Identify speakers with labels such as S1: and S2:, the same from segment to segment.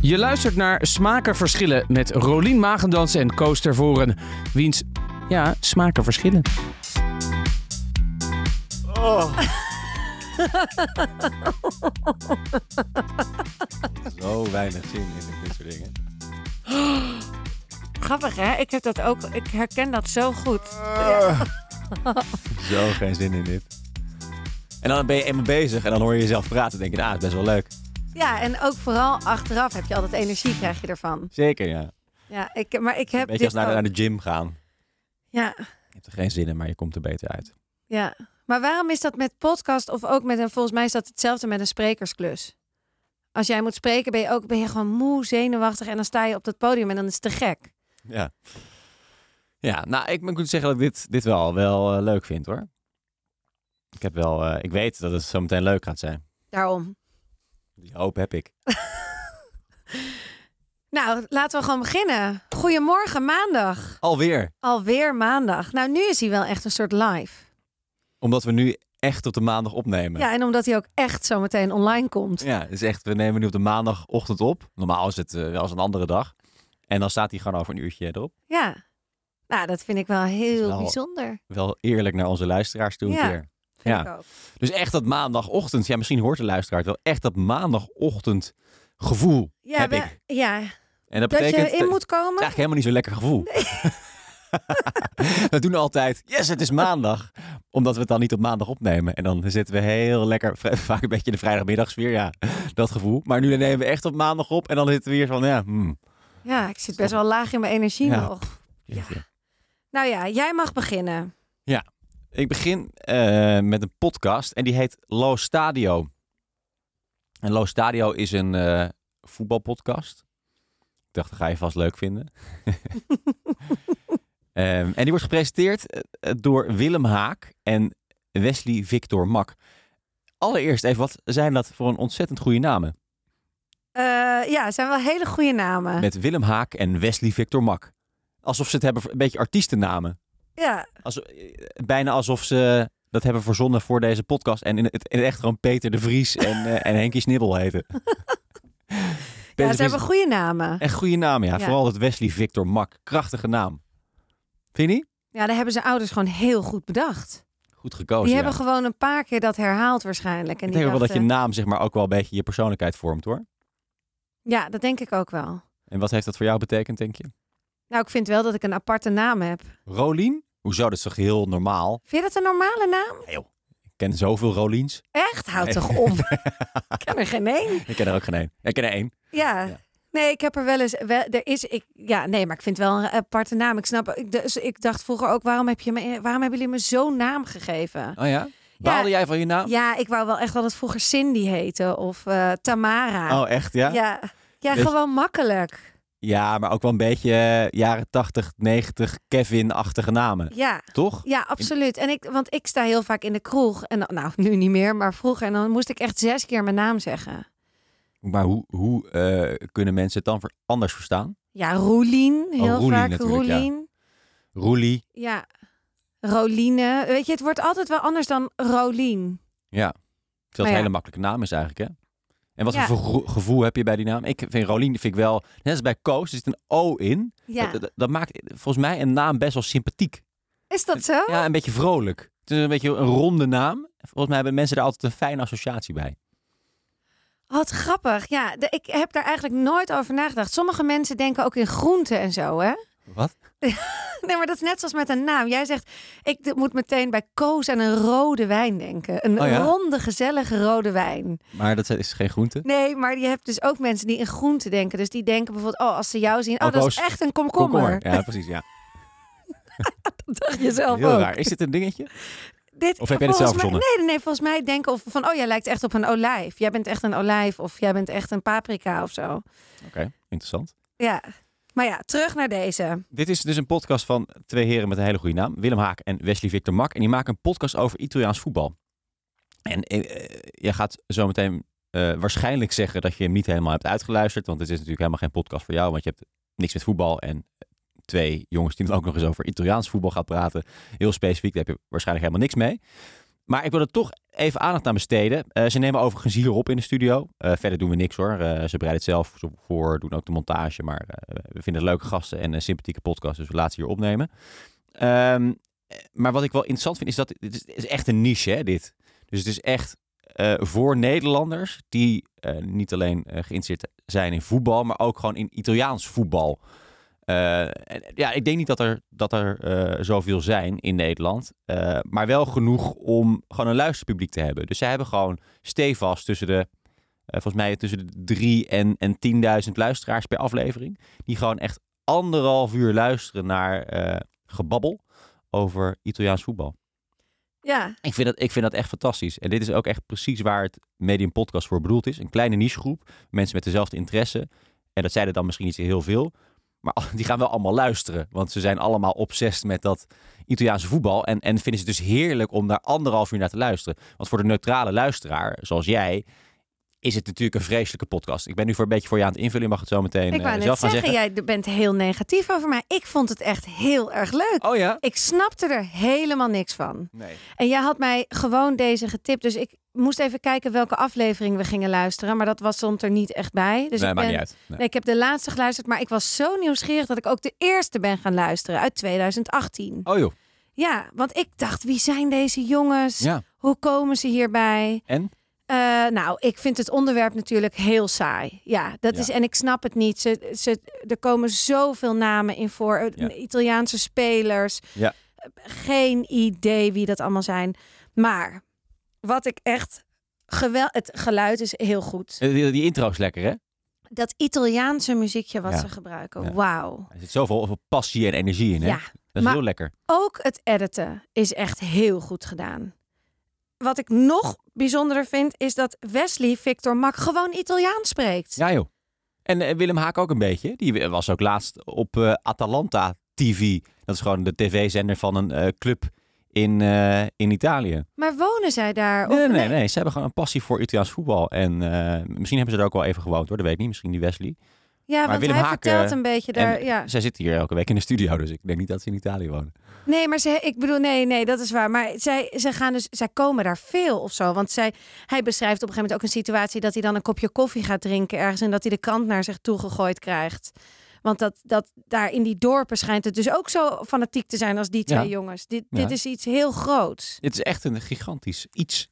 S1: Je luistert naar Smaken Verschillen met Rolien Magendans en Koos Tervoren. Wiens, ja, smaken verschillen.
S2: Zo weinig zin in dit soort dingen.
S3: Grappig hè? Ik heb dat ook. Ik herken dat zo goed.
S2: Zo geen zin in dit. En dan ben je eenmaal bezig en dan hoor je jezelf praten. denk je, ah, het is best wel leuk.
S3: Ja, en ook vooral achteraf heb je altijd energie, krijg je ervan.
S2: Zeker, ja.
S3: Ja, ik, maar ik heb.
S2: Weet je,
S3: dit
S2: als naar,
S3: ook.
S2: naar de gym gaan.
S3: Ja,
S2: Je hebt er geen zin in, maar je komt er beter uit.
S3: ja. Maar waarom is dat met podcast of ook met een. Volgens mij is dat hetzelfde met een sprekersklus. Als jij moet spreken, ben je ook ben je gewoon moe, zenuwachtig. En dan sta je op dat podium en dan is het te gek.
S2: Ja. Ja, nou, ik moet zeggen dat ik dit, dit wel, wel eh, leuk vind, hoor. Ik, heb wel, eh, ik weet dat het zo meteen leuk gaat zijn.
S3: Daarom.
S2: Die hoop heb ik.
S3: Nou, laten we gewoon beginnen. Goedemorgen, maandag.
S2: Alweer.
S3: Alweer maandag. Nou, nu is hij wel echt een soort live.
S2: Omdat we nu echt op de maandag opnemen.
S3: Ja, en omdat hij ook echt zometeen online komt.
S2: Ja, dus echt, we nemen nu op de maandagochtend op. Normaal is het eh, wel eens een andere dag. En dan staat hij gewoon over een uurtje erop.
S3: Ja. Nou, dat vind ik wel
S2: is
S3: heel
S2: wel-
S3: bijzonder.
S2: Wel eerlijk naar onze luisteraars toe een
S3: Ja.
S2: keer.
S3: Vind
S2: Ja.
S3: ik ook.
S2: Dus echt dat maandagochtend. Ja, misschien hoort de luisteraar het wel. Echt dat maandagochtend gevoel
S3: Ja,
S2: heb
S3: we-
S2: ik.
S3: ja,
S2: En dat,
S3: dat
S2: betekent...
S3: je in moet komen.
S2: Het is eigenlijk helemaal niet zo'n lekker gevoel. we doen altijd, yes, het is maandag. Omdat we het dan niet op maandag opnemen. En dan zitten we heel lekker, v- vaak een beetje in de vrijdagmiddagsfeer. Ja, dat gevoel. Maar nu nemen we echt op maandag op. En dan zitten we hier van, ja, hmm.
S3: Ja, ik zit best wel laag in mijn energie
S2: Ja.
S3: nog. Nou ja, jij mag beginnen.
S2: Ik begin eh, met een podcast en die heet Lo Stadio. En Lo Stadio is een eh, voetbalpodcast. Ik dacht, dat ga je vast leuk vinden. Ehm, en die wordt gepresenteerd eh, eh, door Willem Haak en Wesley Victor Mak. Allereerst even, wat zijn dat voor een ontzettend goede namen?
S3: Eh, ja, het zijn wel hele goede namen.
S2: Met Willem Haak en Wesley Victor Mak. Alsof ze het hebben, voor- een beetje artiestennamen.
S3: Ja,
S2: Als, eh, bijna alsof ze dat hebben verzonnen voor deze podcast. En in het, in het echt gewoon Peter de Vries en, eh, en Henkie Snibbel heten. Peter de
S3: ja
S2: Vries
S3: ze hebben goede namen.
S2: Echt goede naam, ja.
S3: Ja.
S2: Vooral dat Wesley Victor Mak. Krachtige naam. Vind je niet?
S3: Ja, daar hebben ze ouders gewoon heel goed bedacht.
S2: Goed gekozen,
S3: Die
S2: Oh, ja.
S3: hebben gewoon een paar keer dat herhaald waarschijnlijk. En
S2: Ik
S3: die
S2: denk ook wel dat je
S3: dachten-
S2: naam zeg maar ook wel een beetje je persoonlijkheid vormt, hoor.
S3: Ja, dat denk ik ook wel.
S2: En wat heeft dat voor jou betekend, denk je?
S3: Nou, ik vind wel dat ik een aparte naam heb.
S2: Rolien? Hoezo? Dat is toch heel normaal?
S3: Vind je dat een normale naam?
S2: Nee, joh. Ik ken zoveel Roliens.
S3: Echt? Houd
S2: Nee.
S3: toch op. ik ken er geen één.
S2: Ik ken er ook geen één. Ik ken er één.
S3: Ja.
S2: Ja.
S3: Nee, ik heb er wel eens. Wel, er is, ik, ja, nee, maar ik vind het wel een aparte naam. Ik snap. Ik, dus, ik dacht vroeger ook: waarom, heb je me, waarom hebben jullie me zo'n naam gegeven?
S2: Oh ja? Baalde jij van je naam?
S3: Ja, ik wou wel echt dat het vroeger Cindy heette of eh, Tamara.
S2: Oh, echt,
S3: ja, ja,
S2: Dus-
S3: gewoon makkelijk.
S2: Ja, maar ook wel een beetje eh, jaren 80, 90 Kevin-achtige namen,
S3: Ja.
S2: toch?
S3: Ja, absoluut. En ik, want ik sta heel vaak in de kroeg. En dan- nou, nu niet meer, maar vroeger. En dan moest ik echt zes keer mijn naam zeggen.
S2: Maar hoe, hoe eh, kunnen mensen het dan ver- anders verstaan?
S3: Ja, Roelien. Heel
S2: Roelien
S3: vaak
S2: Oh, natuurlijk, ja.
S3: Roelien.
S2: Roelie,
S3: Ja. Roline. Weet je, het wordt altijd wel anders dan Rolien.
S2: ja. Dat
S3: Maar
S2: een
S3: Oh ja.
S2: hele makkelijke naam is eigenlijk, hè? En wat
S3: Ja.
S2: voor gevo- gevoel heb je bij die naam? Ik vind Rolien, vind ik wel, net als bij Koos, er zit een O in.
S3: Ja.
S2: Dat, dat- dat maakt volgens mij een naam best wel sympathiek.
S3: Is dat zo?
S2: Ja, een beetje vrolijk. Het is een beetje een ronde naam. Volgens mij hebben mensen daar altijd een fijne associatie bij.
S3: Wat grappig. Ja, de- ik heb daar eigenlijk nooit over nagedacht. Sommige mensen denken ook in groenten en zo, hè?
S2: Wat?
S3: Nee, maar dat is net zoals met een naam. Jij zegt, ik d- moet meteen bij Koos aan een rode wijn denken. Een
S2: Oh ja?
S3: ronde, gezellige rode wijn.
S2: Maar dat is geen groente.
S3: Nee, maar je hebt dus ook mensen die in groenten denken. Dus die denken bijvoorbeeld, oh, als ze jou zien... Oh,
S2: Oh,
S3: dat is
S2: Koos.
S3: echt een komkommer.
S2: Ja, precies, ja.
S3: Dat dacht je zelf
S2: Heel
S3: ook.
S2: raar. Is dit een dingetje?
S3: Dit,
S2: Of heb jij dit
S3: volgens
S2: zelf
S3: mij- nee, nee, volgens mij denken of van, oh, jij lijkt echt op een olijf. Jij bent echt een olijf of jij bent echt een paprika of zo.
S2: Oké, interessant.
S3: Ja, maar ja, terug naar deze.
S2: Dit is dus een podcast van twee heren met een hele goede naam. Willem Haak en Wesley Victor Mak. En die maken een podcast over Italiaans voetbal. En eh, eh, je gaat zo meteen eh, waarschijnlijk zeggen dat je hem niet helemaal hebt uitgeluisterd. Want dit is natuurlijk helemaal geen podcast voor jou. Want je hebt niks met voetbal. En twee jongens die dan ook nog eens over Italiaans voetbal gaan praten. Heel specifiek, daar heb je waarschijnlijk helemaal niks mee. Maar ik wil er toch even aandacht aan besteden. Eh, ze nemen overigens hierop in de studio. Eh, verder doen we niks hoor. Eh, ze bereiden het zelf zo- voor, doen ook de montage. Maar eh, we vinden het leuke gasten en een sympathieke podcast. Dus we laten ze hier opnemen. Ehm, eh, maar wat ik wel interessant vind is dat dit is, dit is echt een niche hè, dit. Dus het is echt eh, voor Nederlanders die eh, niet alleen eh, geïnteresseerd zijn in voetbal, maar ook gewoon in Italiaans voetbal. Eh, en, ja, ik denk niet dat er, dat er eh, zoveel zijn in Nederland. eh, maar wel genoeg om gewoon een luisterpubliek te hebben. Dus zij hebben gewoon stevast tussen de, eh, volgens mij tussen de 3 en, en 10.000 luisteraars per aflevering. Die gewoon echt anderhalf uur luisteren naar eh, gebabbel over Italiaans voetbal.
S3: Ja,
S2: Ik vind, dat, ik vind dat echt fantastisch. En dit is ook echt precies waar het Medium Podcast voor bedoeld is. Een kleine nichegroep, mensen met dezelfde interesse. En dat zijn er dan misschien niet zo heel veel. Maar al- die gaan wel allemaal luisteren. Want ze zijn allemaal obsessed met dat Italiaanse voetbal. En, en vinden ze het dus heerlijk om daar anderhalf uur naar te luisteren. Want voor de neutrale luisteraar, zoals jij, is het natuurlijk een vreselijke podcast. Ik ben nu voor een beetje voor je aan het invullen. Je mag het zo meteen
S3: ik
S2: eh,
S3: wou net
S2: zelf gaan
S3: zeggen,
S2: zeggen.
S3: jij bent heel negatief over mij. Ik vond het echt heel erg leuk.
S2: Oh ja?
S3: Ik snapte er helemaal niks van.
S2: Nee.
S3: En jij had mij gewoon deze getipt. Dus ik moest even kijken welke aflevering we gingen luisteren. Maar dat was soms er niet echt bij. Dus
S2: nee,
S3: ik
S2: maakt
S3: ben...
S2: niet uit. Nee.
S3: Nee, ik heb de laatste geluisterd, maar ik was zo nieuwsgierig dat ik ook de eerste ben gaan luisteren uit 2018.
S2: Oh joh,
S3: Ja, want ik dacht, wie zijn deze jongens?
S2: ja.
S3: Hoe komen ze hierbij?
S2: En?
S3: Eh, nou, ik vind het onderwerp natuurlijk heel saai. Ja, dat
S2: Ja.
S3: is en ik snap het niet. Ze, ze, er komen zoveel namen in voor. Eh,
S2: Ja.
S3: Italiaanse spelers.
S2: Ja.
S3: Eh, Geen idee wie dat allemaal zijn. Maar wat ik echt gewel, het geluid is heel goed.
S2: Eh, Die, die intro is lekker, hè?
S3: Dat Italiaanse muziekje wat
S2: Ja.
S3: ze gebruiken.
S2: Ja.
S3: Wauw.
S2: Er zit zoveel over passie en energie in, hè?
S3: Ja.
S2: Dat is
S3: Maar-
S2: heel lekker.
S3: Ook het editen is echt heel goed gedaan. Wat ik nog bijzonderder vind is dat Wesley Victor Mak gewoon Italiaans spreekt.
S2: Ja, joh. En eh, Willem Haak ook een beetje. Die was ook laatst op eh, Atalanta TV. Dat is gewoon de tv-zender van een eh, club in, eh, in Italië.
S3: Maar wonen zij daar?
S2: Nee,
S3: of
S2: nee, nee, nee. Ze hebben gewoon een passie voor Italiaans voetbal. En eh, misschien hebben ze er ook wel even gewoond, hoor. Dat weet ik niet. Misschien die Wesley.
S3: Ja, want
S2: Willem
S3: hij
S2: Haak,
S3: vertelt
S2: eh,
S3: een beetje
S2: en-
S3: daar. Ja.
S2: Zij zitten hier elke week in de studio, dus ik denk niet dat ze in Italië wonen.
S3: Nee, maar ze, ik bedoel, nee, nee, dat is waar. Maar zij, zij, gaan dus, zij komen daar veel of zo. Want zij, hij beschrijft op een gegeven moment ook een situatie dat hij dan een kopje koffie gaat drinken ergens en dat hij de krant naar zich toe gegooid krijgt. Want dat, dat daar in die dorpen schijnt het dus ook zo fanatiek te zijn als die twee
S2: Ja.
S3: jongens. Dit,
S2: Ja.
S3: dit is iets heel groots.
S2: Het is echt een gigantisch iets.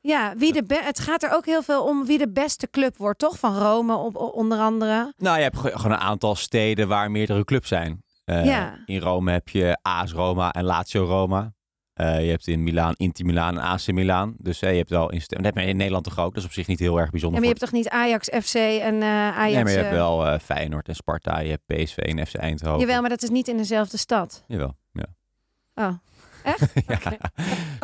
S3: Ja, wie de be- het gaat er ook heel veel om wie de beste club wordt, toch? Van Rome op, onder andere.
S2: Nou, je hebt ge- gewoon een aantal steden waar meerdere clubs zijn. Eh,
S3: Ja.
S2: In Rome heb je AS Roma en Lazio Roma. Eh, je hebt in Milaan Inter Milaan en AC Milaan. Dus eh, je hebt wel in, dat heb je in Nederland toch ook. Dat is op zich niet heel erg
S3: Ja,
S2: bijzonder.
S3: maar je hebt
S2: voor-
S3: toch niet Ajax, FC en eh, Ajax...
S2: nee, maar je
S3: eh,
S2: hebt wel eh, Feyenoord en Sparta. Je hebt PSV en FC Eindhoven.
S3: Jawel, maar dat is niet in dezelfde stad.
S2: Jawel, ja.
S3: Oh, echt?
S2: Ja.
S3: Oké.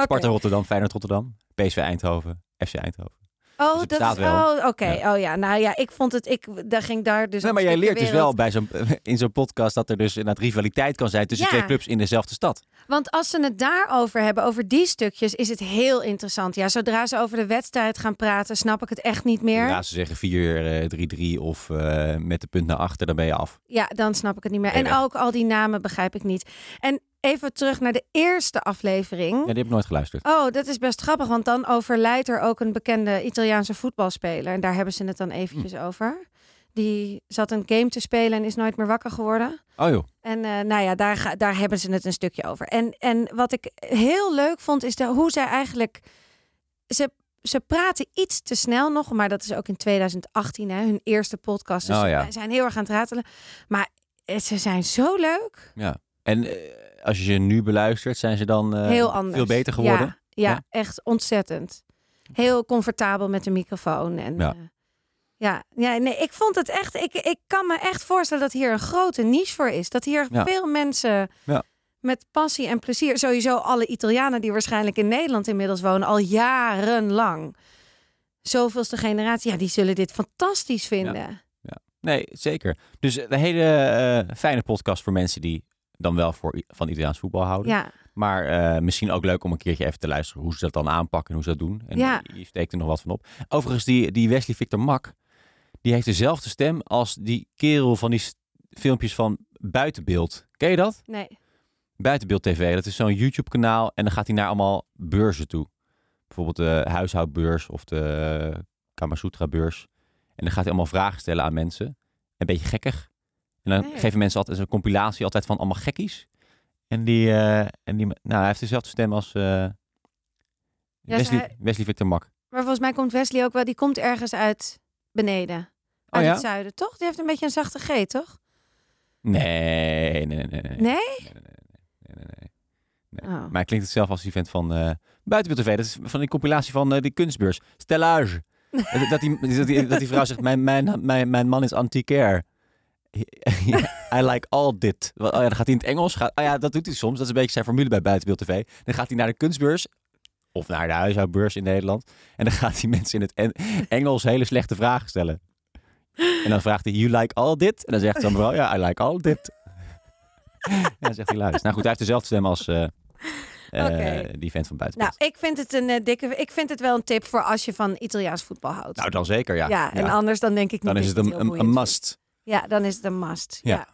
S2: Sparta Rotterdam, Feyenoord Rotterdam, PSV Eindhoven, FC Eindhoven.
S3: Oh,
S2: het
S3: dat
S2: bestaat
S3: is...
S2: wel.
S3: Oh, oké. Oh ja, nou ja, ik vond het... Ik daar ging daar dus...
S2: nee,
S3: een
S2: maar jij
S3: stukje
S2: leert dus wel
S3: wereld.
S2: bij zo'n, in zo'n podcast dat er dus inderdaad rivaliteit kan zijn tussen
S3: Ja.
S2: twee clubs in dezelfde stad.
S3: Want als ze het daarover hebben, over die stukjes, is het heel interessant. Ja, zodra ze over de wedstrijd gaan praten, snap ik het echt niet meer.
S2: Ja, ze zeggen 4-3-3 of eh, met de punt naar achter, dan ben je af.
S3: Ja, dan snap ik het niet meer.
S2: Nee,
S3: En
S2: nee.
S3: ook al die namen begrijp ik niet. En even terug naar de eerste aflevering.
S2: Ja, die heb ik nooit geluisterd.
S3: Oh, dat is best grappig, want dan overlijdt er ook een bekende Italiaanse voetbalspeler. En daar hebben ze het dan eventjes
S2: Hm.
S3: over. Die zat een game te spelen en is nooit meer wakker geworden.
S2: Oh joh.
S3: En eh, nou ja, daar, ga- daar hebben ze het een stukje over. En, en wat ik heel leuk vond, is de, hoe zij eigenlijk... Ze, ze praten iets te snel nog, maar dat is ook in 2018, hè, hun eerste podcast. Dus
S2: Oh
S3: ze
S2: ja.
S3: zijn heel erg aan het ratelen. Maar eh, ze zijn zo leuk.
S2: En eh, als je ze nu beluistert, zijn ze dan eh,
S3: heel anders.
S2: veel beter geworden?
S3: Ja, ja,
S2: Ja?
S3: echt ontzettend. Heel comfortabel met de microfoon. En,
S2: Ja.
S3: ja. ja, ja, nee, ik vond het echt. Ik, ik kan me echt voorstellen dat hier een grote niche voor is. Dat hier
S2: Ja.
S3: veel mensen
S2: Ja.
S3: met passie en plezier. Sowieso alle Italianen die waarschijnlijk in Nederland inmiddels wonen, al jarenlang. Zoveelste generatie, ja, die zullen dit fantastisch vinden.
S2: Nee, zeker. Dus een hele eh, fijne podcast voor mensen die dan wel voor, I- van Italiaans voetbal houden.
S3: Ja,
S2: Maar eh, misschien ook leuk om een keertje even te luisteren hoe ze dat dan aanpakken en hoe ze dat doen. En
S3: Ja.
S2: je steekt er nog wat van op. Overigens, die, die Wesley Victor Mak, die heeft dezelfde stem als die kerel van die s- filmpjes van Buitenbeeld. Ken je dat?
S3: nee.
S2: Buitenbeeld TV. Dat is zo'n YouTube-kanaal en dan gaat hij naar allemaal beurzen toe. Bijvoorbeeld de huishoudbeurs of de Kamasutra-beurs. En dan gaat hij allemaal vragen stellen aan mensen. Een beetje gekkig. En dan
S3: Nee.
S2: geven mensen altijd een compilatie altijd van allemaal gekkies. En die, eh, en die nou, hij heeft dezelfde stem als eh, Wesley,
S3: hij-
S2: Wesley Victor Mak.
S3: Maar volgens mij komt Wesley ook wel, die komt ergens uit beneden. Uit
S2: Oh ja?
S3: het zuiden, toch? Die heeft een beetje een zachte G, toch?
S2: Nee, nee, nee, nee. nee.
S3: Nee?
S2: Nee, nee, nee, nee, nee, nee.
S3: Oh.
S2: Maar hij klinkt het zelf als die vent van eh Buitenbeeld TV. Dat is van die compilatie van eh, die kunstbeurs. Stellage. dat, dat, die, dat, die, dat die vrouw zegt, mijn, mijn, mijn, mijn man is antiquair. I like all dit. Oh ja, dan gaat hij in het Engels. Gaat, oh ja, dat doet hij soms. Dat is een beetje zijn formule bij Buitenbeeld TV. Dan gaat hij naar de kunstbeurs. Of naar de huishoudbeurs in Nederland. En dan gaat hij mensen in het en- Engels hele slechte vragen stellen. En dan vraagt hij, you like all dit? En dan zegt zo'n vrouw, ja, I like all dit. En dan zegt hij, luister. Nou goed, hij heeft dezelfde stem als eh, eh,
S3: Oké.
S2: die vent van Buitenbeeld.
S3: Nou, ik vind het een eh, dikke. Ik vind het wel een tip voor als je van Italiaans voetbal houdt.
S2: Nou, dan zeker, ja.
S3: ja, en anders dan denk ik niet.
S2: Dan is
S3: dat
S2: het
S3: je
S2: een,
S3: heel
S2: een,
S3: boeiend
S2: een
S3: vindt.
S2: must.
S3: Ja, dan is het een must. Ja.
S2: Ja.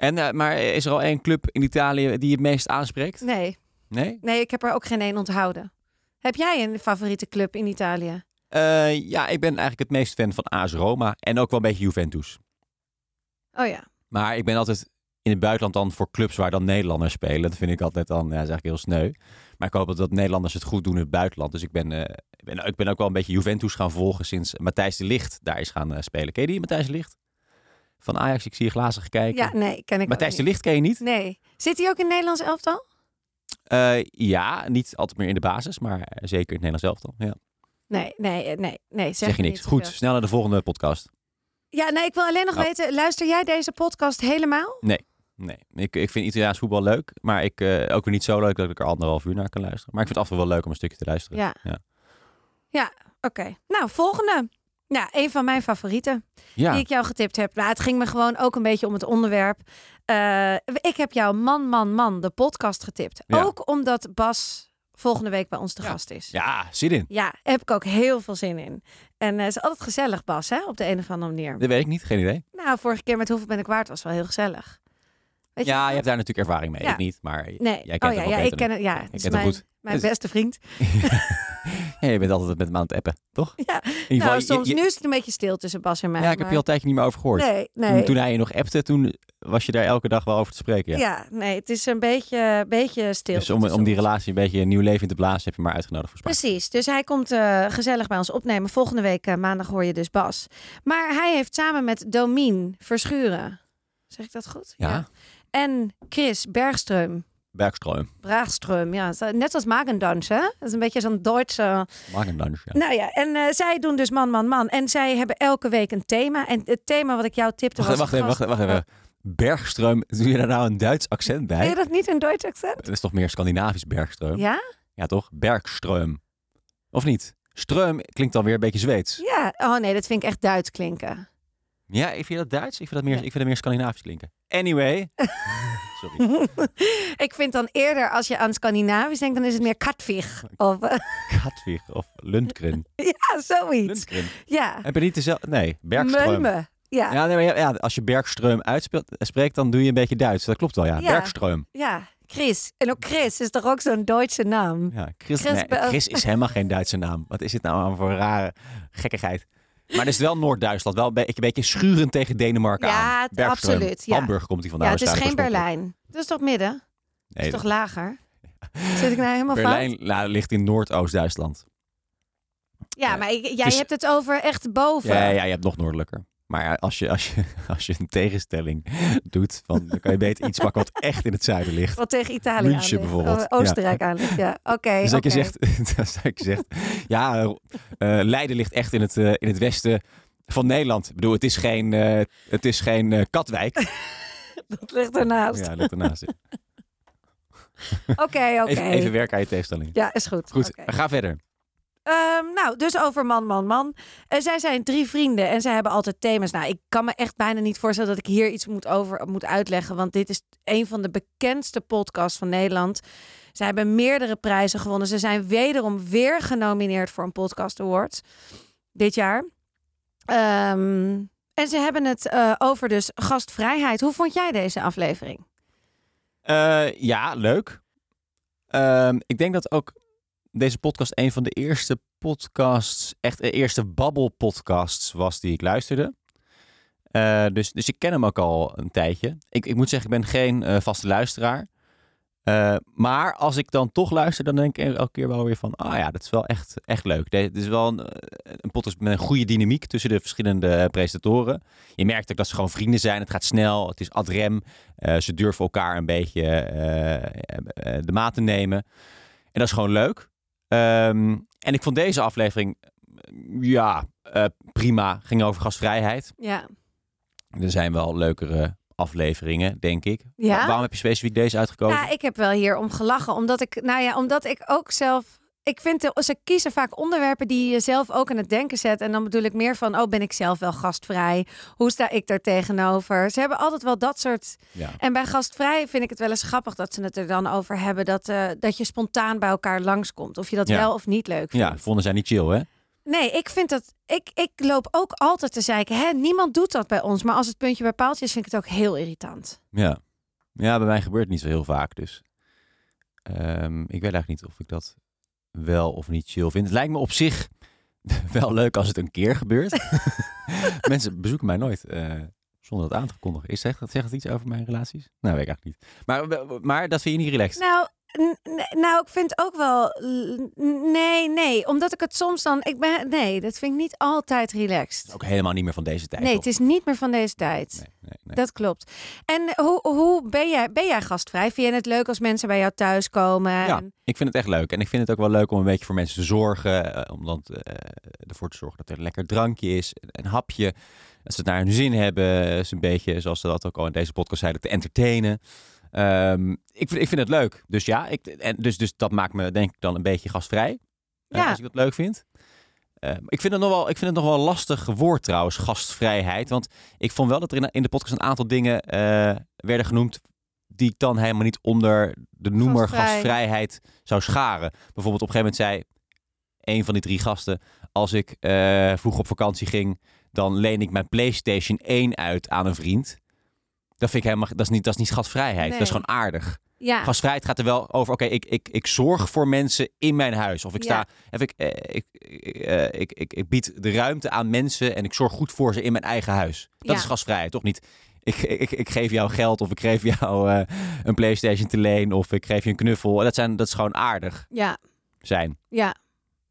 S2: En, eh, maar is er al één club in Italië die je het meest aanspreekt?
S3: Nee,
S2: Nee?
S3: nee, ik heb er ook geen één onthouden. Heb jij een favoriete club in Italië?
S2: Eh, ja, ik ben eigenlijk het meest fan van AS Roma en ook wel een beetje Juventus.
S3: Oh ja.
S2: Maar ik ben altijd in het buitenland dan voor clubs waar dan Nederlanders spelen. Dat vind ik altijd dan, ja, dat is eigenlijk heel sneu. Maar ik hoop dat, dat Nederlanders het goed doen in het buitenland. Dus ik ben, eh, ik ben, ik ben ook wel een beetje Juventus gaan volgen sinds Matthijs de Ligt daar is gaan eh, spelen. Ken je die, Matthijs de Ligt? Van Ajax, ik zie je glazig kijken.
S3: Ja, nee, ken ik
S2: Matthijs
S3: ook
S2: de
S3: niet.
S2: Ligt ken je niet?
S3: Nee. Zit hij ook in het Nederlands elftal?
S2: Eh, ja, niet altijd meer in de basis, maar eh, zeker in het Nederlands elftal. Ja.
S3: Nee, nee, eh, nee, nee. Zeg,
S2: Zeg je
S3: me
S2: niks.
S3: niet eh.
S2: Goed,
S3: zoveel.
S2: snel naar de volgende podcast.
S3: Ja, nee, ik wil alleen nog
S2: Oh.
S3: weten, luister jij deze podcast helemaal?
S2: Nee, ik, ik vind Italiaans voetbal leuk, maar ik, eh, ook weer niet zo leuk dat ik er anderhalf uur naar kan luisteren. Maar ik vind het af en toe wel leuk om een stukje te luisteren.
S3: Ja.
S2: Ja.
S3: Ja, oké. Nou, volgende. Ja, een van mijn favorieten.
S2: Ja,
S3: die ik jou getipt heb. Nou, het ging me gewoon ook een beetje om het onderwerp. Eh, ik heb jou Man, Man, Man, de podcast getipt.
S2: Ja.
S3: Ook omdat Bas volgende week bij ons te
S2: Ja.
S3: gast is.
S2: ja zin in.
S3: Ja, daar heb ik ook heel veel zin in. En eh, het is altijd gezellig, Bas, hè, op de een of andere manier.
S2: Dat weet ik niet, geen idee.
S3: Nou, vorige keer met Hoeveel ben ik waard was wel heel gezellig. Weet
S2: Ja, je
S3: nog?
S2: hebt daar natuurlijk ervaring mee.
S3: Ja.
S2: Ik niet, maar
S3: Nee,
S2: jij kent
S3: oh
S2: hem
S3: ja,
S2: wel
S3: ja
S2: beter
S3: ik ken het. Ja, het is
S2: kent hem
S3: mijn,
S2: goed.
S3: mijn
S2: Het is-
S3: beste vriend.
S2: ja, je bent altijd met me aan het appen, toch?
S3: Ja,
S2: In ieder geval,
S3: Nou,
S2: je-
S3: soms
S2: je-
S3: nu is het een beetje stil tussen Bas en mij.
S2: Ja, ik heb
S3: maar-
S2: je al een tijdje niet meer over gehoord.
S3: Nee, nee.
S2: Toen, toen hij je nog appte, toen was je daar elke dag wel over te spreken.
S3: ja.
S2: Ja.
S3: nee, het is een beetje, beetje stil.
S2: dus om,
S3: tussen
S2: om die
S3: ons.
S2: relatie een beetje een nieuw leven in te blazen, heb je maar uitgenodigd voor Spaak.
S3: Precies, dus hij komt eh, gezellig bij ons opnemen. Volgende week eh, maandag hoor je dus Bas. Maar hij heeft samen met Domien Verschuren, zeg ik dat goed?
S2: Ja.
S3: En Chris Bergström,
S2: Bergström.
S3: Braagström, ja, het is, eh, net als Magendans, hè? Dat is een beetje zo'n Duitse...
S2: Maak een lunch, ja.
S3: Nou ja, en eh, zij doen dus Man, Man, Man. En zij hebben elke week een thema. En het thema wat ik jou tipte
S2: Wacht,
S3: was...
S2: wacht even, wacht,
S3: gast-
S2: wacht even. Bergström, doe je daar nou een Duits accent bij?
S3: Vind je dat niet een Duits accent?
S2: Dat is toch meer Scandinavisch Bergström? Ja,
S3: Ja?
S2: toch? Bergström. Of niet? Ström klinkt dan weer een beetje Zweeds.
S3: Ja. Oh nee, dat vind ik echt Duits klinken.
S2: Ja, ik vind dat Duits. Ik vind dat meer,
S3: Ja.
S2: ik vind dat meer Scandinavisch klinken. Anyway. Sorry.
S3: ik vind dan eerder, als je aan Scandinavisch denkt, dan is het meer Katwig. Of... eh,
S2: Katwig of Lundgren.
S3: Ja, zoiets.
S2: Lundgren.
S3: Ja.
S2: Heb je niet dezelfde... Nee, Bergström.
S3: Meume. Ja.
S2: Ja, nee, maar ja, ja, als je Bergström uitspeelt, eh, spreekt, dan doe je een beetje Duits. Dat klopt wel, ja.
S3: Ja.
S2: Bergström.
S3: ja, Chris. En ook Chris is toch ook zo'n Duitse naam?
S2: Ja, Chris,
S3: Chris
S2: nee,
S3: Berg-
S2: Chris is helemaal geen Duitse naam. Wat is dit nou aan voor een rare gekkigheid? Maar het is wel Noord-Duitsland. Wel een beetje, een beetje schurend tegen Denemarken
S3: Ja,
S2: aan.
S3: het-
S2: Bergström.
S3: absoluut, ja.
S2: Hamburg komt hij vandaan.
S3: ja, het is geen
S2: waarschijnlijk
S3: Berlijn. Dat is toch midden? Dat
S2: oorspronkelijk.
S3: is toch lager? Zit ik nou helemaal
S2: Nee,
S3: fout?
S2: Berlijn nou, ligt in Noordoost-Duitsland.
S3: Ja, maar ik- jij
S2: is-
S3: hebt het over echt boven.
S2: Ja, ja, je hebt nog noordelijker. Maar ja, als je, als je, als je een tegenstelling doet, van, dan kan je beter iets pakken wat echt in het zuiden ligt.
S3: Wat tegen Italië
S2: München
S3: aan ligt.
S2: bijvoorbeeld,
S3: Of Oostenrijk aan ligt, ja. Oké,
S2: Dus dat,
S3: oké.
S2: je zegt, dus dat je zegt, ja, eh, eh, Leiden ligt echt in het, eh, in het westen van Nederland. Ik bedoel, het is geen, eh, het is geen eh, Katwijk.
S3: Dat ligt ernaast.
S2: Ja, ligt ernaast.
S3: Oké, oké.
S2: Even, even werken aan je tegenstelling.
S3: Ja, is goed.
S2: Goed,
S3: Oké.
S2: ga verder.
S3: Ehm, nou, dus over man, man, man. Eh, zij zijn drie vrienden en zij hebben altijd thema's. Nou, ik kan me echt bijna niet voorstellen dat ik hier iets moet over moet uitleggen. Want dit is een van de bekendste podcasts van Nederland. Zij hebben meerdere prijzen gewonnen. Ze zijn wederom weer genomineerd voor een podcast award. Dit jaar. Ehm, en ze hebben het eh, over dus gastvrijheid. Hoe vond jij deze aflevering?
S2: Eh, ja, leuk. Ehm, ik denk dat ook deze podcast een van de eerste podcasts, echt de eerste babbelpodcasts was die ik luisterde. Eh, dus, dus ik ken hem ook al een tijdje. Ik, ik moet zeggen, ik ben geen eh, vaste luisteraar. Eh, maar als ik dan toch luister, dan denk ik elke keer wel weer van... Ah ja, dat is wel echt, echt leuk. De- Dit is wel een, eh, een podcast met een goede dynamiek tussen de verschillende eh, presentatoren. Je merkt ook dat ze gewoon vrienden zijn. Het gaat snel, het is ad rem. Eh, ze durven elkaar een beetje eh, eh, eh, de maat te nemen. En dat is gewoon leuk. Ehm, en ik vond deze aflevering, eh, ja, eh, prima. Ging over gastvrijheid.
S3: Ja.
S2: Er zijn wel leukere afleveringen, denk ik.
S3: Ja?
S2: Wa- waarom heb je specifiek deze uitgekozen?
S3: ja, ik heb wel hier om gelachen. Omdat ik, nou ja, omdat ik ook zelf. Ik vind de- ze kiezen vaak onderwerpen die je zelf ook aan het denken zet. En dan bedoel ik meer van: oh, ben ik zelf wel gastvrij? Hoe sta ik daar tegenover? Ze hebben altijd wel dat soort.
S2: Ja.
S3: En bij gastvrij vind ik het wel eens grappig dat ze het er dan over hebben. Dat, eh, dat je spontaan bij elkaar langskomt. Of je dat
S2: Ja.
S3: wel of niet leuk vindt.
S2: Ja, vonden zij niet chill, hè?
S3: Nee, ik vind dat. Ik, ik loop ook altijd te zeiken. Hè, niemand doet dat bij ons. Maar als het puntje bij paaltje is, vind ik het ook heel irritant.
S2: Ja. Ja, bij mij gebeurt het niet zo heel vaak, dus... ehm, ik weet eigenlijk niet of ik dat wel of niet chill vind. Het lijkt me op zich wel leuk als het een keer gebeurt. Mensen bezoeken mij nooit eh, zonder dat aan te kondigen. Is, zegt, dat, zegt dat iets over mijn relaties? Nou, weet ik eigenlijk niet. Maar, maar dat vind je niet relaxed?
S3: Nou, n- n- nou, ik vind ook wel. l- Nee, nee. Omdat ik het soms dan. Ik ben, nee, dat vind ik niet altijd relaxed.
S2: Ook helemaal niet meer van deze tijd.
S3: Nee,
S2: toch?
S3: het is niet meer van deze tijd.
S2: Nee, nee, nee.
S3: Dat klopt. En hoe, hoe ben, jij, ben jij gastvrij? Vind je het leuk als mensen bij jou thuis komen?
S2: Ja,
S3: En-
S2: ik vind het echt leuk. En ik vind het ook wel leuk om een beetje voor mensen te zorgen. eh, Om dan eh, ervoor te zorgen dat er een lekker drankje is, een hapje. Dat ze het naar hun zin hebben. Is een beetje, zoals ze dat ook al in deze podcast zeiden, te entertainen. Ehm, ik, vind, ik vind het leuk. Dus ja, ik, en dus, dus dat maakt me denk ik dan een beetje gastvrij. eh,
S3: Ja.
S2: Als ik dat leuk vind. Ehm, ik, vind het nog wel, ik vind het nog wel een lastig woord trouwens, gastvrijheid. Want ik vond wel dat er in, in de podcast een aantal dingen eh, werden genoemd die ik dan helemaal niet onder de noemer
S3: Gastvrij.
S2: gastvrijheid zou scharen. Bijvoorbeeld op een gegeven moment zei een van die drie gasten, als ik eh vroeg op vakantie ging, dan leen ik mijn PlayStation 1 uit aan een vriend. Dat vind ik helemaal, dat is niet, dat is niet gastvrijheid, dat is
S3: Nee.
S2: gewoon aardig.
S3: ja.
S2: Gastvrijheid gaat er wel over, oké, ik, ik, ik zorg voor mensen in mijn huis. Of ik sta, of ik, eh, ik, ik, eh, ik, ik, ik bied de ruimte aan mensen en ik zorg goed voor ze in mijn eigen huis. Dat
S3: Ja.
S2: is gastvrijheid, toch niet? Ik, ik, ik geef jou geld of ik geef jou eh, een Playstation te leen of ik geef je een knuffel. Dat, zijn, dat is gewoon aardig
S3: ja.
S2: zijn.
S3: Ja.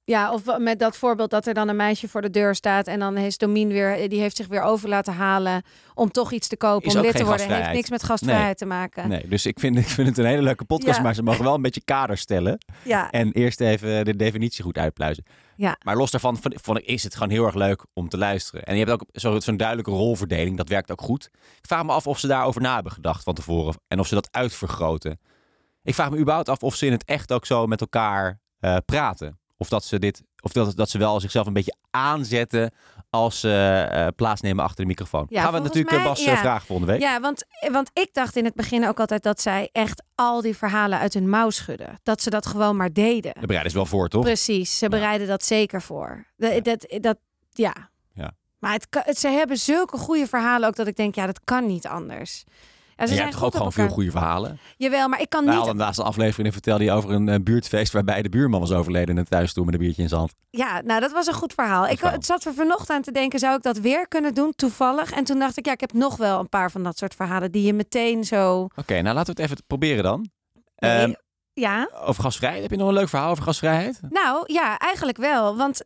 S3: Ja, of met dat voorbeeld dat er dan een meisje voor de deur staat en dan is Domien weer, eh, die heeft zich weer over laten halen om toch iets te kopen,
S2: Is
S3: om
S2: ook
S3: lid te
S2: geen
S3: worden. Heeft
S2: gastvrijheid.
S3: niks met gastvrijheid te maken.
S2: Nee, dus ik vind, ik vind het een hele leuke podcast,
S3: Ja.
S2: maar ze mogen wel een beetje kader stellen.
S3: Ja,
S2: En eerst even de definitie goed uitpluizen.
S3: Ja.
S2: Maar los daarvan vond, vond ik, is het gewoon heel erg leuk om te luisteren. En je hebt ook zo- zo'n duidelijke rolverdeling, dat werkt ook goed. Ik vraag me af of ze daarover na hebben gedacht van tevoren. En of ze dat uitvergroten. Ik vraag me überhaupt af of ze in het echt ook zo met elkaar eh, praten. Of dat ze, dit, of dat, dat ze wel zichzelf een beetje aanzetten als ze eh, plaatsnemen achter de microfoon.
S3: Ja,
S2: Gaan we
S3: volgens
S2: natuurlijk eh,
S3: mij-
S2: Bas eh,
S3: ja.
S2: vragen volgende week.
S3: ja want, want ik dacht in het begin ook altijd dat zij echt al die verhalen uit hun mouw schudden. Dat ze dat gewoon maar deden.
S2: De bereid is wel voor, toch?
S3: Precies, ze bereiden dat zeker voor. De-
S2: Ja.
S3: Dat, dat, ja.
S2: Ja.
S3: Maar het, kan- het- ze hebben zulke goede verhalen ook dat ik denk, ja, dat kan niet anders. Ja,
S2: En
S3: ze
S2: jij
S3: zijn
S2: hebt toch
S3: goed
S2: ook
S3: op
S2: gewoon veel
S3: elkaar.
S2: goede verhalen?
S3: Jawel, maar ik kan
S2: Wij
S3: niet
S2: hadden naast een aflevering en vertelde je over een eh, buurtfeest waarbij de buurman was overleden en het thuis toen met een biertje in zijn hand.
S3: Ja, nou dat was een goed verhaal. Ik
S2: verhaal.
S3: het zat er vanochtend aan te denken, zou ik dat weer kunnen doen, toevallig? En toen dacht ik, ja, ik heb nog wel een paar van dat soort verhalen die je meteen zo...
S2: Oké, nou laten we het even proberen dan.
S3: Nee,
S2: Ehm,
S3: ja,
S2: over gasvrijheid, heb je nog een leuk verhaal over gasvrijheid?
S3: nou ja, eigenlijk wel. Want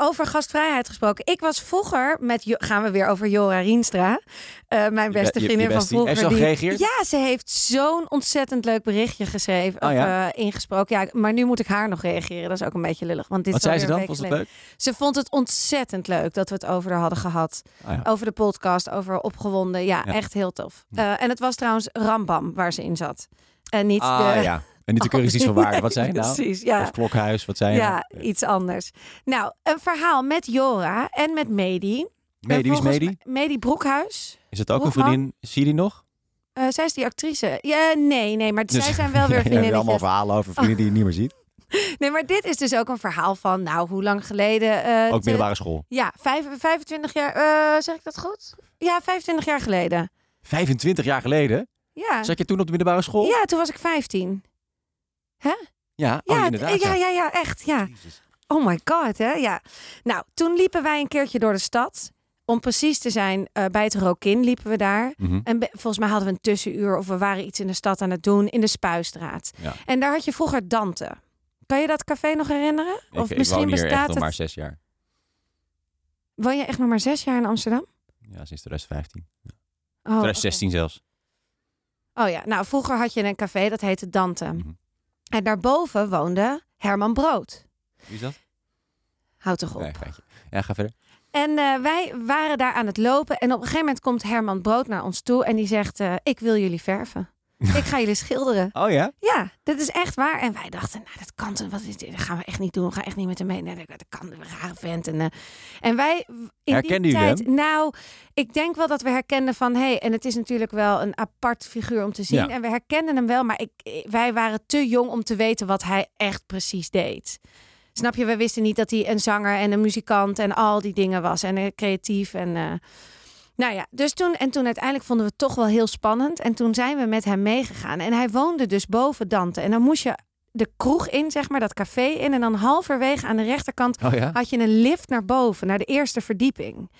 S3: over gastvrijheid gesproken, ik was vroeger met... Jo- Gaan we weer over Jora Rienstra, eh, mijn
S2: Je
S3: beste
S2: be- je- je
S3: vriendin van
S2: bestie.
S3: vroeger.
S2: Heeft ze al
S3: die-
S2: gereageerd?
S3: Ja, ze heeft zo'n ontzettend leuk berichtje geschreven,
S2: Oh
S3: of
S2: ja?
S3: eh, ingesproken. Ja, maar nu moet ik haar nog reageren, dat is ook een beetje lullig. Want dit
S2: Wat
S3: is
S2: zei ze
S3: alweer
S2: dan?
S3: een
S2: Was
S3: week
S2: het
S3: geleden.
S2: leuk?
S3: Ze vond het ontzettend leuk dat we het over haar hadden gehad.
S2: Ah, ja.
S3: Over de podcast, over opgewonden. Ja,
S2: Ja.
S3: echt heel tof. Eh, en het was trouwens Rambam waar ze in zat. En niet
S2: Ah,
S3: de...
S2: ja. En niet de keurig van waarde. Wat zijn nou?
S3: Precies, ja.
S2: Of klokhuis, wat zijn
S3: oh, Ja, nou, iets anders. Nou, een verhaal met Jora en met Medi. En
S2: Medi, wie is
S3: volgens
S2: Medi?
S3: mij- Medi Broekhuis.
S2: Is het ook een
S3: Hoekman?
S2: vriendin? Zie je die nog?
S3: Eh, zij is die actrice. Ja, nee, nee, maar
S2: Dus-
S3: zij zijn wel weer
S2: Ja, je hebt
S3: vriendinnetjes. Oh.
S2: allemaal verhalen over vrienden die je niet meer ziet.
S3: Nee, maar dit is dus ook een verhaal van, nou, hoe lang geleden? eh,
S2: Ook
S3: te-
S2: middelbare school.
S3: Ja, vijf- 25 jaar, eh, zeg ik dat goed? Ja, 25 jaar geleden.
S2: 25 jaar geleden?
S3: Ja.
S2: Zat je toen op de middelbare school?
S3: Ja, toen was ik 15. Hè?
S2: Ja,
S3: Ja,
S2: oh,
S3: d-
S2: inderdaad.
S3: ja, ja, ja, echt. Ja.
S2: Jezus.
S3: Oh my god, hè? Ja. Nou, toen liepen wij een keertje door de stad. Om precies te zijn, eh, bij het Rokin liepen we daar.
S2: Mhm.
S3: En be- volgens mij hadden we een tussenuur of we waren iets in de stad aan het doen in de Spuistraat.
S2: Ja.
S3: En daar had je vroeger Dante. Kan je dat café nog herinneren?
S2: Ik-
S3: of
S2: ik,
S3: misschien
S2: woon hier echt
S3: bestaat
S2: nog
S3: het.
S2: maar zes jaar.
S3: Woon je echt nog maar zes jaar in Amsterdam?
S2: Ja, sinds 2015.
S3: Oh,
S2: 2016 zelfs.
S3: oké. Oh ja, nou vroeger had je een café dat heette Dante.
S2: Mhm.
S3: En daarboven woonde Herman Brood.
S2: Wie is dat?
S3: Houd toch op.
S2: Nee, geintje. ja, ga verder.
S3: En eh, wij waren daar aan het lopen. En op een gegeven moment komt Herman Brood naar ons toe. En die zegt, eh, ik wil jullie verven. ik ga jullie schilderen.
S2: Oh ja?
S3: Ja, dat is echt waar. En wij dachten, nou, dat kan toch- wat is dit? Dat gaan we echt niet doen. We gaan echt niet met hem mee. Nee, dat dat kan een rare vent. En, eh, en wij in
S2: Herkenden
S3: die
S2: jullie
S3: tijd, nou, ik denk wel dat we herkenden van, hé, hey, en het is natuurlijk wel een apart figuur om te zien.
S2: Ja.
S3: En we herkenden hem wel, maar ik, wij waren te jong om te weten wat hij echt precies deed. Snap je, we wisten niet dat hij een zanger en een muzikant en al die dingen was. En eh, creatief en... eh, nou ja, dus toen en toen uiteindelijk vonden we het toch wel heel spannend. En toen zijn we met hem meegegaan. En hij woonde dus boven Dante. En dan moest je de kroeg in, zeg maar, dat café in. En dan halverwege aan de rechterkant
S2: Oh ja?
S3: had je een lift naar boven, naar de eerste verdieping.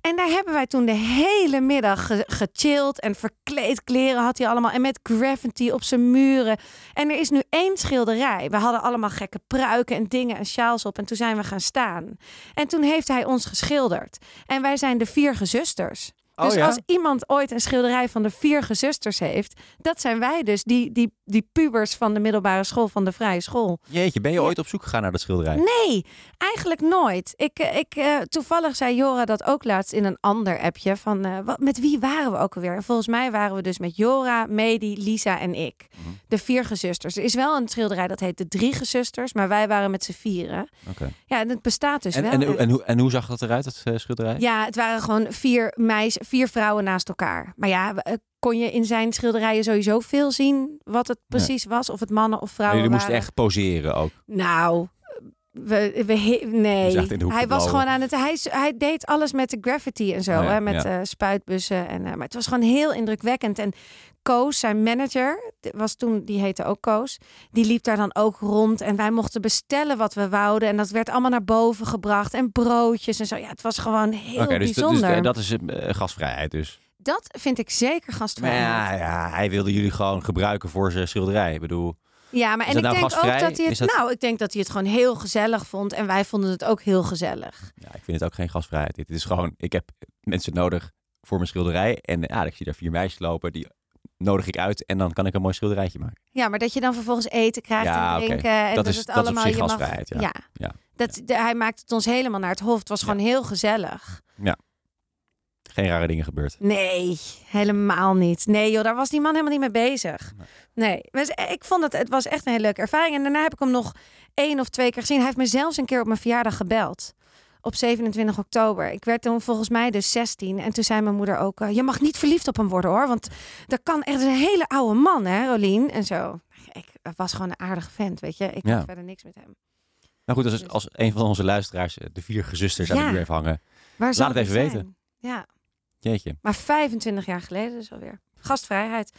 S3: En daar hebben wij toen de hele middag ge- gechilled en verkleed kleren had hij allemaal. En met graffiti op zijn muren. En er is nu één schilderij. We hadden allemaal gekke pruiken en dingen en sjaals op. En toen zijn we gaan staan. En toen heeft hij ons geschilderd. En wij zijn de vier gezusters.
S2: Oh
S3: Dus
S2: ja?
S3: als iemand ooit een schilderij van de vier gezusters heeft, dat zijn wij dus, die, die, die pubers van de middelbare school, van de vrije school.
S2: Jeetje, ben je ooit op zoek gegaan naar dat schilderij?
S3: Nee, eigenlijk nooit. Ik, eh, ik, eh, toevallig zei Jora dat ook laatst in een ander appje. Van, eh, wat, met wie waren we ook alweer? En volgens mij waren we dus met Jora, Medi, Lisa en ik.
S2: Mhm.
S3: De vier gezusters. Er is wel een schilderij dat heet De Drie Gezusters. Maar wij waren met z'n vieren.
S2: Oké.
S3: Ja, en het bestaat dus
S2: En,
S3: wel.
S2: en, en, hoe, en hoe zag dat eruit, dat eh, schilderij?
S3: Ja, het waren gewoon vier meisjes, vier vrouwen naast elkaar. Maar ja, we- eh, kon je in zijn schilderijen sowieso veel zien wat het precies was? Of het mannen of
S2: Maar
S3: vrouwen
S2: jullie moesten
S3: waren?
S2: echt poseren ook.
S3: Nou, we, we he-
S2: Hij
S3: nee.
S2: zag in de hoek
S3: hij was
S2: blauwen.
S3: gewoon aan het. Hij, s- hij deed alles met de graffiti en zo,
S2: Oh ja,
S3: hè, met
S2: ja.
S3: eh, spuitbussen. En, eh, maar het was gewoon heel indrukwekkend. En Koos, zijn manager, d- was toen, die heette ook Koos, die liep daar dan ook rond. En wij mochten bestellen wat we wouden. En dat werd allemaal naar boven gebracht. En broodjes en zo. Ja, het was gewoon heel
S2: dus, dat- dus
S3: bijzonder.
S2: eh,
S3: dat...
S2: dat is eh, gasvrijheid dus.
S3: vind ik zeker
S2: Maar
S3: gastvrijheid.
S2: ja, ja, hij wilde jullie gewoon gebruiken voor zijn schilderij. Ik bedoel,
S3: Ja, maar
S2: Is
S3: en ik
S2: dat nou
S3: denk ook
S2: gastvrij?
S3: dat hij het.
S2: Is dat-
S3: Nou, ik denk dat hij het gewoon heel gezellig vond. En wij vonden het ook heel gezellig.
S2: ja, ik vind het ook geen gasvrijheid. Dit is gewoon, ik heb mensen nodig voor mijn schilderij. En eh, ja, ik zie daar vier meisjes lopen, die nodig ik uit. En dan kan ik een mooi schilderijtje maken.
S3: Ja, maar dat je dan vervolgens eten krijgt
S2: Ja,
S3: en
S2: oké.
S3: drinken. En
S2: Dat
S3: dat,
S2: is-
S3: het
S2: dat is op
S3: allemaal
S2: zich
S3: je mag-
S2: gastvrijheid, ja.
S3: ja.
S2: Ja.
S3: Dat, de- hij maakte het ons helemaal naar het hof. Het was gewoon heel gezellig.
S2: Geen rare dingen gebeurd.
S3: Nee, helemaal niet. Nee joh, daar was die man helemaal niet mee bezig. Nee, Dus ik vond het, het was echt een hele leuke ervaring. En daarna heb ik hem nog één of twee keer gezien. Hij heeft me zelfs een keer op mijn verjaardag gebeld. Op 27 oktober. Ik werd toen volgens mij dus 16. En toen zei mijn moeder ook, eh, je mag niet verliefd op hem worden hoor. Want dat kan echt dat is een hele oude man hè, Rolien. En zo. Ik was gewoon een aardige vent, weet je. Ik
S2: Ja.
S3: had verder niks met hem.
S2: Nou goed, als, als een van onze luisteraars eh, de vier gezusters aan
S3: Dus- Ja.
S2: de muur heeft hangen.
S3: Waar zal
S2: het
S3: die
S2: even
S3: zijn?
S2: weten.
S3: Ja,
S2: Jeetje.
S3: maar 25 jaar geleden dus alweer. Gastvrijheid.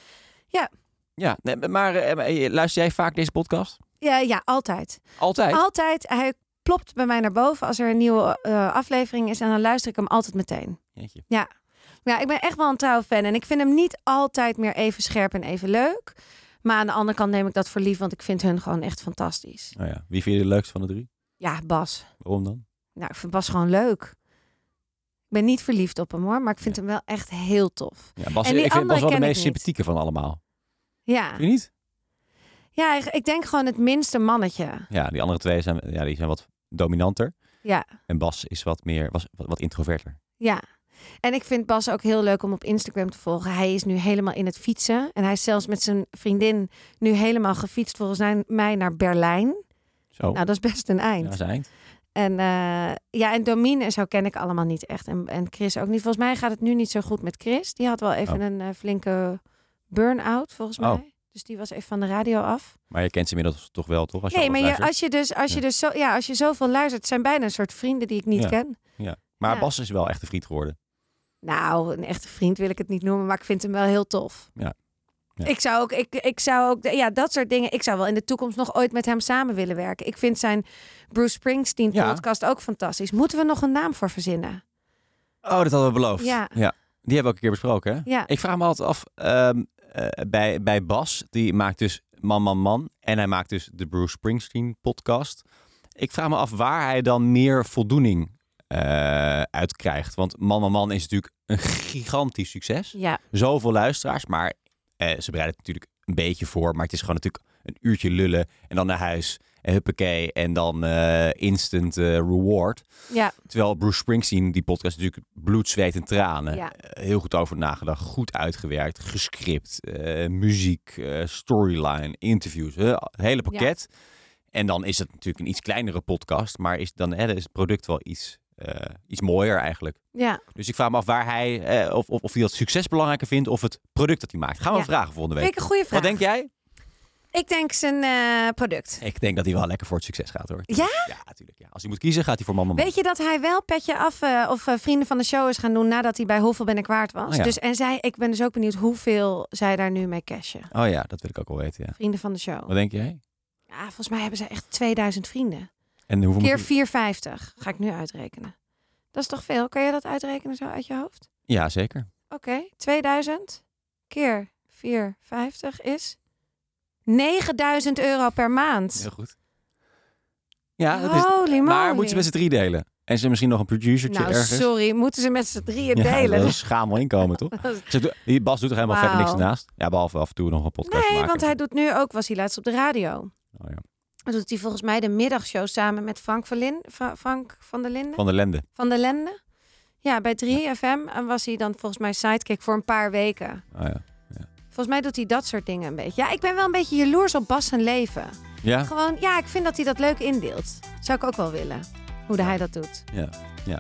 S2: Ja, nee, maar eh, eh, luister jij vaak deze podcast?
S3: Ja, ja altijd.
S2: Altijd?
S3: Altijd. Hij plopt bij mij naar boven als er een nieuwe eh, aflevering is. En dan luister ik hem altijd meteen.
S2: Jeetje.
S3: Ja, ik ben echt wel een trouw fan. En ik vind hem niet altijd meer even scherp en even leuk. Maar aan de andere kant neem ik dat voor lief. Want ik vind hun gewoon echt fantastisch.
S2: Oh ja. Wie vind je de leukste van de drie?
S3: Ja, Bas.
S2: Waarom dan?
S3: Nou, ik vind Bas gewoon leuk. Ik ben niet verliefd op hem hoor. Maar ik vind
S2: Ja.
S3: hem wel echt heel tof.
S2: Ja, Bas,
S3: En die
S2: ik vind Bas wel
S3: andere
S2: de
S3: ken ik
S2: meest
S3: niet.
S2: sympathieke van allemaal.
S3: Ja,
S2: Vind je niet?
S3: ja ik- ik denk gewoon het minste mannetje.
S2: Ja, die andere twee zijn, ja, die zijn wat dominanter.
S3: Ja.
S2: En Bas is wat meer, was wat, wat introverter.
S3: Ja. En ik vind Bas ook heel leuk om op Instagram te volgen. Hij is nu helemaal in het fietsen. En hij is zelfs met zijn vriendin nu helemaal gefietst volgens mij- mij naar Berlijn.
S2: Zo,
S3: Nou, dat is best een
S2: ja,
S3: eind.
S2: dat is eind.
S3: En eh, ja, en Domine en zo ken ik allemaal niet echt. En, en Chris ook niet. Volgens mij gaat het nu niet zo goed met Chris. Die had wel even
S2: Oh.
S3: een eh, flinke burn-out volgens
S2: Oh.
S3: mij. Dus die was even van de radio af.
S2: Maar je kent ze inmiddels toch wel, toch? Als je
S3: nee,
S2: alles
S3: maar je,
S2: luistert.
S3: als je dus, als je
S2: Ja.
S3: dus zo, ja, als je zoveel luistert, het zijn bijna een soort vrienden die ik niet
S2: Ja.
S3: ken.
S2: Maar
S3: ja.
S2: Bas is wel echt een vriend geworden.
S3: Nou, een echte vriend wil ik het niet noemen, maar ik vind hem wel heel tof.
S2: Ja. Ja.
S3: Ik zou ook, ik, ik zou ook, ja, dat soort dingen. Ik zou wel in de toekomst nog ooit met hem samen willen werken. Ik vind zijn Bruce Springsteen
S2: Ja.
S3: podcast ook fantastisch. Moeten we nog een naam voor verzinnen?
S2: Oh, dat hadden we beloofd.
S3: Ja.
S2: Die hebben we ook een keer besproken, hè?
S3: Ja.
S2: Ik vraag me altijd af, ehm, eh, bij, bij Bas, die maakt dus Man, Man, Man. En hij maakt dus de Bruce Springsteen podcast. Ik vraag me af waar hij dan meer voldoening eh uit krijgt. Want Man, Man, Man is natuurlijk een gigantisch succes.
S3: Ja,
S2: Zoveel luisteraars, maar eh, ze bereiden het natuurlijk een beetje voor. Maar het is gewoon natuurlijk een uurtje lullen en dan naar huis. En huppakee, en dan eh, instant eh, reward.
S3: ja,
S2: Terwijl Bruce Springsteen, die podcast, natuurlijk bloed, zweet en tranen.
S3: Ja.
S2: Eh, Heel goed over nagedacht, goed uitgewerkt, gescript, eh, muziek, eh, storyline, interviews, eh, het hele pakket. En dan is het natuurlijk een iets kleinere podcast, maar is, dan eh, is het product wel iets, eh, iets mooier eigenlijk.
S3: ja.
S2: Dus ik vraag me af waar hij, eh, of, of, of hij dat succes belangrijker vindt of het product dat hij maakt. Gaan we
S3: Ja.
S2: hem vragen volgende
S3: Vind
S2: week.
S3: ik een goede vraag.
S2: Wat denk jij?
S3: Ik denk zijn eh, product.
S2: Ik denk dat hij wel lekker voor het succes gaat hoor.
S3: Ja?
S2: Ja, natuurlijk. Ja. Als hij moet kiezen, gaat hij voor mama.
S3: Weet je dat hij wel petje af eh, of eh, vrienden van de show is gaan doen nadat hij bij Hoeveel ben ik waard was?
S2: Oh ja.
S3: Dus en zij, ik ben dus ook benieuwd hoeveel zij daar nu mee cashen.
S2: Oh ja, dat wil ik ook wel weten. Ja.
S3: Vrienden van de show.
S2: Wat denk jij?
S3: Ja, volgens mij hebben ze echt 2000 vrienden.
S2: En hoeveel moet
S3: Keer
S2: hij-
S3: 450 ga ik nu uitrekenen. Dat is toch veel? Kan je dat uitrekenen zo uit je hoofd?
S2: Ja, zeker.
S3: Oké, 2000 keer 450 is 9000 euro per maand.
S2: Heel goed. Ja, dat is,
S3: Holy
S2: maar
S3: moly.
S2: moeten ze met z'n drie delen? En ze misschien nog een producertje
S3: Nou,
S2: ergens?
S3: sorry, moeten ze met z'n drieën
S2: Ja,
S3: delen?
S2: Dat is schamel inkomen, toch?
S3: Dat is-
S2: Ze doen- die Bas doet er helemaal verder niks
S3: Wauw.
S2: naast. Ja, behalve af en toe nog een podcast
S3: Nee,
S2: maken.
S3: want hij doet nu ook, was hij laatst op de radio.
S2: Oh ja.
S3: Dan doet hij volgens mij de middagshow samen met Frank van, Lin, Fra- Frank van der Linden.
S2: Van de Lende.
S3: Van der Lende. Ja, bij 3FM. En was hij dan volgens mij sidekick voor een paar weken.
S2: Oh ja.
S3: Volgens mij doet hij dat soort dingen een beetje. Ja, ik ben wel een beetje jaloers op Bas zijn leven.
S2: Ja?
S3: Gewoon, ja, ik vind dat hij dat leuk indeelt. Zou ik ook wel willen. Hoe hij dat doet.
S2: Eh,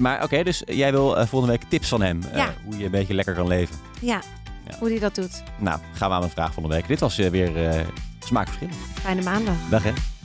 S2: Maar oké, dus jij wil eh, volgende week tips van hem. eh,
S3: Ja.
S2: hoe je een beetje lekker kan leven.
S3: Ja,
S2: Ja.
S3: hoe hij dat doet.
S2: Nou, gaan we aan mijn vraag volgende week. Dit was eh, weer eh smaakverschil.
S3: Fijne maandag.
S2: Dag hè.